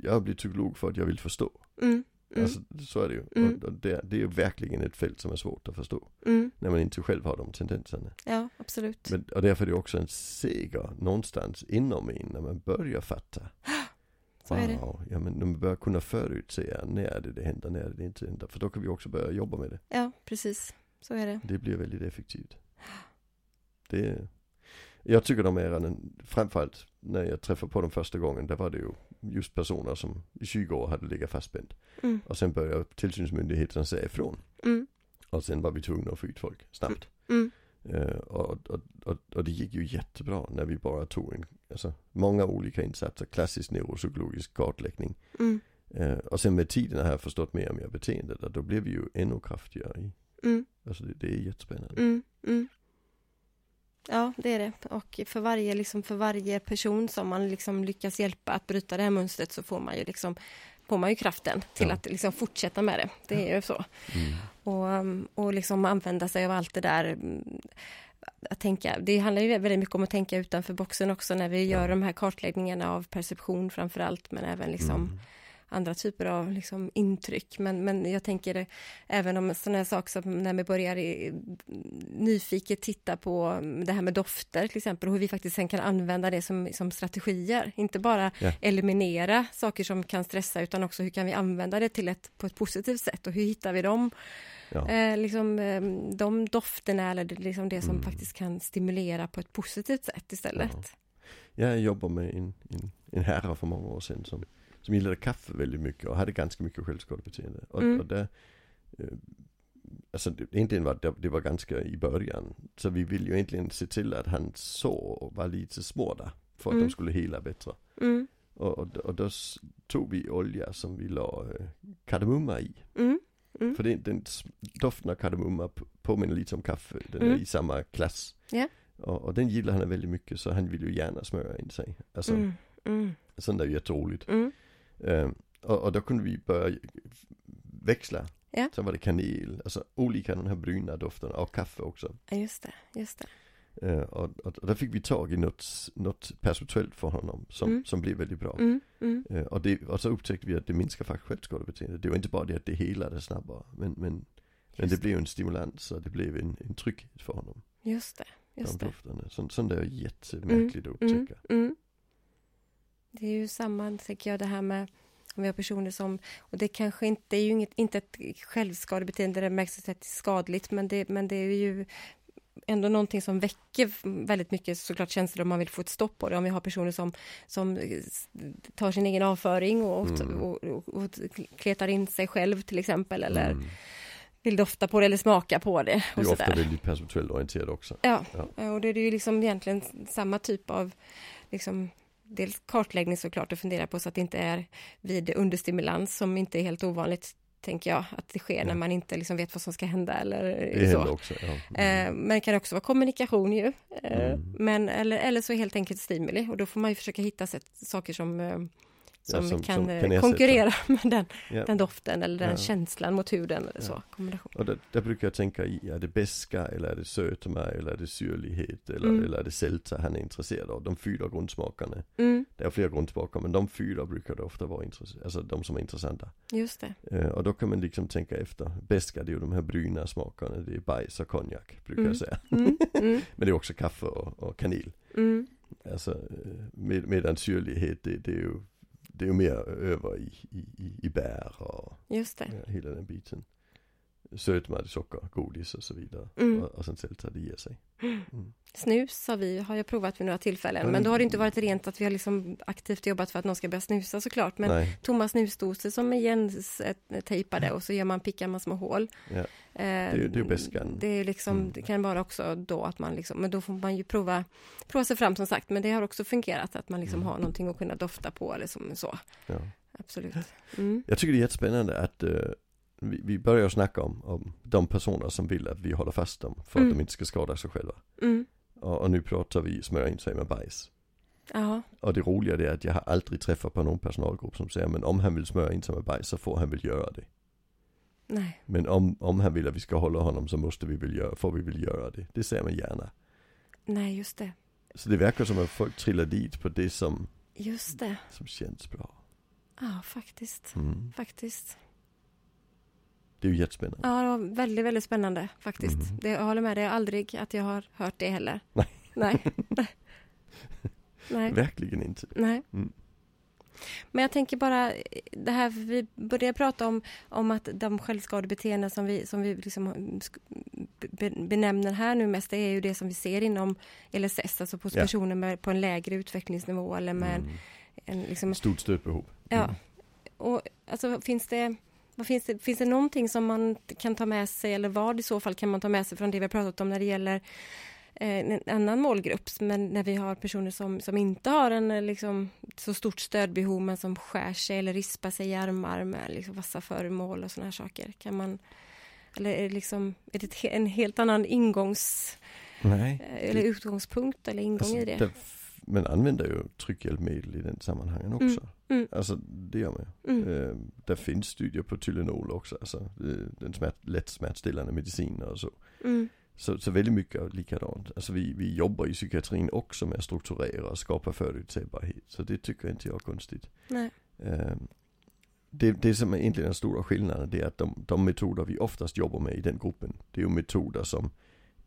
jag blir psykolog för att jag vill förstå.
Mm, mm,
Alltså, så är det ju.
Mm.
Och, och det, det är ju verkligen ett fält som är svårt att förstå.
mm,
När man inte själv har de tendenserna.
ja, absolut.
Men, och därför är det också en seger någonstans inom en när man börjar fatta.
Så är det.
Wow, ja men när man börjar kunna förutsäga när det, det händer, när det inte händer. För då kan vi också börja jobba med det.
Ja, precis. Så är det.
Det blir väldigt effektivt. Det, jag tycker de äran, framförallt när jag träffade på dem första gången, där var det ju just personer som i 20 år hade legat fastspänd.
Mm,
Och sen började tillsynsmyndigheten säga ifrån.
mm,
Och sen var vi tvungna att få ut folk snabbt.
mm,
Eh, och, och, och, och det gick ju jättebra när vi bara tog en, alltså, många olika insatser, klassisk neuropsykologisk kartläggning.
mm,
Eh, och sen med tiden har jag förstått mer och mer beteendet och då blev vi ju ännu kraftigare i.
mm.
Alltså det, det är jättespännande.
Mm, mm. Ja, det är det. Och för varje, liksom, för varje person som man liksom lyckas hjälpa att bryta det här mönstret så får man ju, liksom, får man ju kraften till
Ja.
att liksom fortsätta med det. Det är ju så.
Mm.
Och, um, och liksom använda sig av allt det där. mm, Att tänka. Det handlar ju väldigt mycket om att tänka utanför boxen också när vi gör de här kartläggningarna av perception framför allt, men även liksom andra typer av liksom, intryck. Men, men jag tänker det, även om sådana här saker som när vi börjar i, nyfiket titta på mm, det här med dofter till exempel, och hur vi faktiskt sen kan använda det som, som strategier. Inte bara
Ja.
eliminera saker som kan stressa, utan också hur kan vi använda det till ett, på ett positivt sätt och hur hittar vi dem?
Ja.
Eh, liksom, eh, de dofterna eller det- liksom det som
Mm.
faktiskt kan stimulera på ett positivt sätt istället.
Ja. Jag jobbar med en, en, en herre för många år sedan som, som gillade kaffe väldigt mycket och hade ganska mycket självskadebeteende. Och,
Mm.
och där, eh, alltså det, egentligen var det, det var ganska i början. Så vi ville ju egentligen se till att han så var lite småda för att
Mm.
de skulle hela bättre.
Mm,
Och, och, och då s- tog vi olja som vi la eh, kardemumma i.
mm, Mm.
För den, den s- doften av kardemumma p- påminner lite om kaffe, den är
Mm.
i samma klass.
Ja.
Och, och den gillar han väldigt mycket så han vill ju gärna smöra in sig. Alltså,
mm, mm,
Sånt är ju jätteroligt.
mm,
Eh, och, och då kunde vi börja växla.
Ja.
Sen var det kanel, alltså olika de här bruna dofterna och kaffe också.
Ja, just det, just det.
Eh, och, och, och där fick vi tag i något, något perceptuellt för honom som,
Mm.
som blev väldigt bra.
Mm, mm.
Eh, och, det, och så upptäckte vi att det minskar faktiskt självskadebeteendet. Det var inte bara det att det helade snabbare men, men, men
Just
det blev ju en stimulans och det blev en, en trygghet för honom.
Just det. Just
de
det.
dofterna. Sånt, sånt är jättemärkligt att
Mm,
upptäcka.
mm. Det är ju samma, tänker jag, det här med om vi har personer som, och det kanske inte det är ju inget, inte ett självskadebeteende, det märks att det är skadligt, men det, men det är ju ändå någonting som väcker väldigt mycket såklart känslor om man vill få ett stopp på det. Om vi har personer som, som tar sin egen avföring och,
Mm.
och, och, och kletar in sig själv till exempel, eller
Mm.
vill dofta på det eller smaka på
Det
det.
är
Och
ju ofta
sådär.
väldigt perceptuellt orienterat också.
Ja,
Ja.
och det är ju liksom egentligen samma typ av liksom, dels kartläggning såklart och fundera på så att det inte är vid understimulans som inte är helt ovanligt tänker jag att det sker
Ja.
när man inte liksom vet vad som ska hända eller
Det
så.
händer också. Ja. Mm.
Eh, Men det kan också vara kommunikation ju. Eh,
Mm.
Men, eller, eller så helt enkelt stimuli och då får man ju försöka hitta sätt, saker som, eh, som,
som-
kan,
som
eh,
kan ersätta.
konkurrera med den,
Ja.
den doften eller den
Ja.
känslan mot huden eller så. Kombination.
Och där, där brukar jag tänka i, är det beska eller är det sötma eller är det syrlighet eller,
Mm.
eller är det sälta han är intresserad av? De fyra grundsmakerna.
Mm,
Det är flera grundsmaker men de fyra brukar det ofta vara intressanta, alltså de som är intressanta.
just det.
Eh, och då kan man liksom tänka efter. Beska det är ju de här bruna smakerna, det är bajs och konjak brukar
Mm.
jag säga.
Mm, mm,
Men det är också kaffe och, och kanel.
mm,
Alltså eh, med, medan syrlighet det, det är ju det är ju mer över i, i, i- i bär och
just det.
ja, hela den biten. sötmad socker, godis och så vidare.
Mm.
Och, och sen så tar det ger sig.
Snus har, vi, har jag provat vid några tillfällen,
Mm.
men då har det inte varit rent att vi har liksom aktivt jobbat för att någon ska börja snusa såklart. Men
Nej,
tomma snusdoser som är igentejpade och så gör man, pickar man små hål.
Ja.
Det
är ju- det är ju beskan.
Det, är liksom,
Mm.
det kan vara också då att man liksom, men då får man ju prova, prova sig fram som sagt, men det har också fungerat att man liksom
Mm.
har någonting att kunna dofta på eller som så.
ja.
Absolut. Mm.
Jag tycker det är jättespännande att eh, vi, vi börjar snacka om, om de personer som vill att vi håller fast dem för att
Mm.
de inte ska skada sig själva.
Mm.
Och, och nu pratar vi smörja in sig med bajs.
Ja,
Och det roliga det är att jag har aldrig träffat på någon personalgrupp som säger men om han vill smörja in sig med bajs så får han väl göra det.
nej.
Men om, om han vill att vi ska hålla honom så måste vi väl göra, får vi väl göra det. Det säger man gärna.
Nej, just det.
Så det verkar som att folk trillar dit på det som,
Just det.
som känns bra.
Ja, faktiskt.
Mm.
Faktiskt.
Det är ju jättespännande.
Ja, det var väldigt, väldigt spännande faktiskt.
Mhm.
Det, jag håller med dig aldrig att jag har hört det heller.
Nej.
Nej. Nej.
Verkligen inte.
Nej.
Mm.
Men jag tänker bara eh, det här, för vi började prata om, om att de självskadebeteenden som vi, som vi liksom mm, sk- be- benämner här nu mest, det är ju det som vi ser inom LSS, alltså hos
Ja.
personer med, på en lägre utvecklingsnivå eller med en-
Mm.
en, liksom,
Stort stödbehov.
Ja.
Mm.
Och alltså, finns det, vad finns det, finns det någonting som man kan ta med sig eller vad i så fall kan man ta med sig från det vi har pratat om när det gäller eh, en annan målgrupp, men när vi har personer som, som inte har en eh, liksom, så stort stödbehov men som skär sig eller rispar sig i armar med liksom, vassa föremål och sådana här saker. Kan man, eller är det, liksom, är det ett he- en helt annan ingångs
Nej.
eh, eller utgångspunkt eller ingång
Alltså,
i det?
där f- man använder ju tryckhjälpmedel i den sammanhangen också.
mm.
Alltså det gör man ju.
Mm.
Eh, där finns studier på Tylenol också, alltså eh, den smärt, lätt smärtstillande mediciner och så.
Mm.
Så, så väldigt mycket är likadant. Alltså vi, vi jobbar i psykiatrin också med att strukturera och skapa förutsägbarhet. Så det tycker inte jag är konstigt.
Nej.
Eh, det, det som är egentligen den stora skillnaden det är att de, de metoder vi oftast jobbar med i den gruppen, det är ju metoder som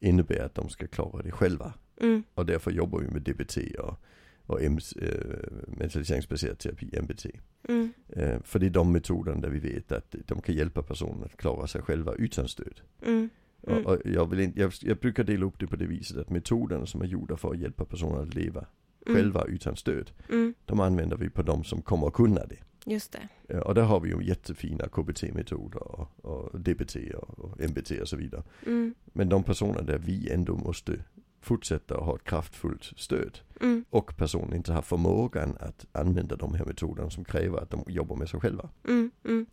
innebär att de ska klara det själva.
Mm.
Och därför jobbar vi med DBT och, och MC, eh, mentaliseringsbaserad terapi, MBT.
Mm.
Eh, för det är de metoderna där vi vet att de kan hjälpa personer att klara sig själva utan stöd.
Mm. Mm.
Och, och jag, vill inte, jag, jag brukar dela upp det på det viset att metoderna som är gjorda för att hjälpa personer att leva
Mm.
själva utan stöd,
Mm.
de använder vi på de som kommer att kunna det.
Just det.
Eh, Och där har vi ju jättefina KBT-metoder och, och DBT och, och MBT och så vidare.
Mm.
Men de personer där vi ändå måste fortsätta att ha ett kraftfullt stöd
Mm.
och personen inte har förmågan att använda de här metoderna som kräver att de jobbar med sig själva.
Mm. Mm.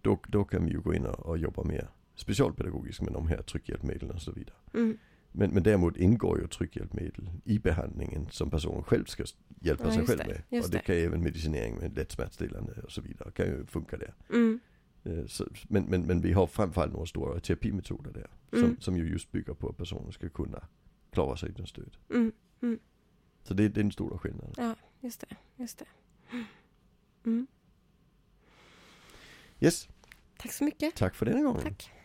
Då, då kan vi ju gå in och, och jobba mer specialpedagogiskt med de här tryckhjälpmedlen och så vidare.
Mm.
Men, men däremot ingår ju tryckhjälpmedel i behandlingen som personen själv ska s- hjälpa
Ja,
sig
just
själv
det,
med.
just
och det
det.
kan ju även medicinering med lätt smärtstillande och så vidare kan ju funka där.
Mm.
Eh, Så, men, men, men vi har framförallt några stora terapimetoder där. Som,
Mm.
som ju just bygger på att personen ska kunna klara sig utan stöd.
Mm.
Så det, det är den stora skillnaden.
Just det. Just det. Mm.
Yes,
Tack så mycket.
tack för denna gången.
Tack.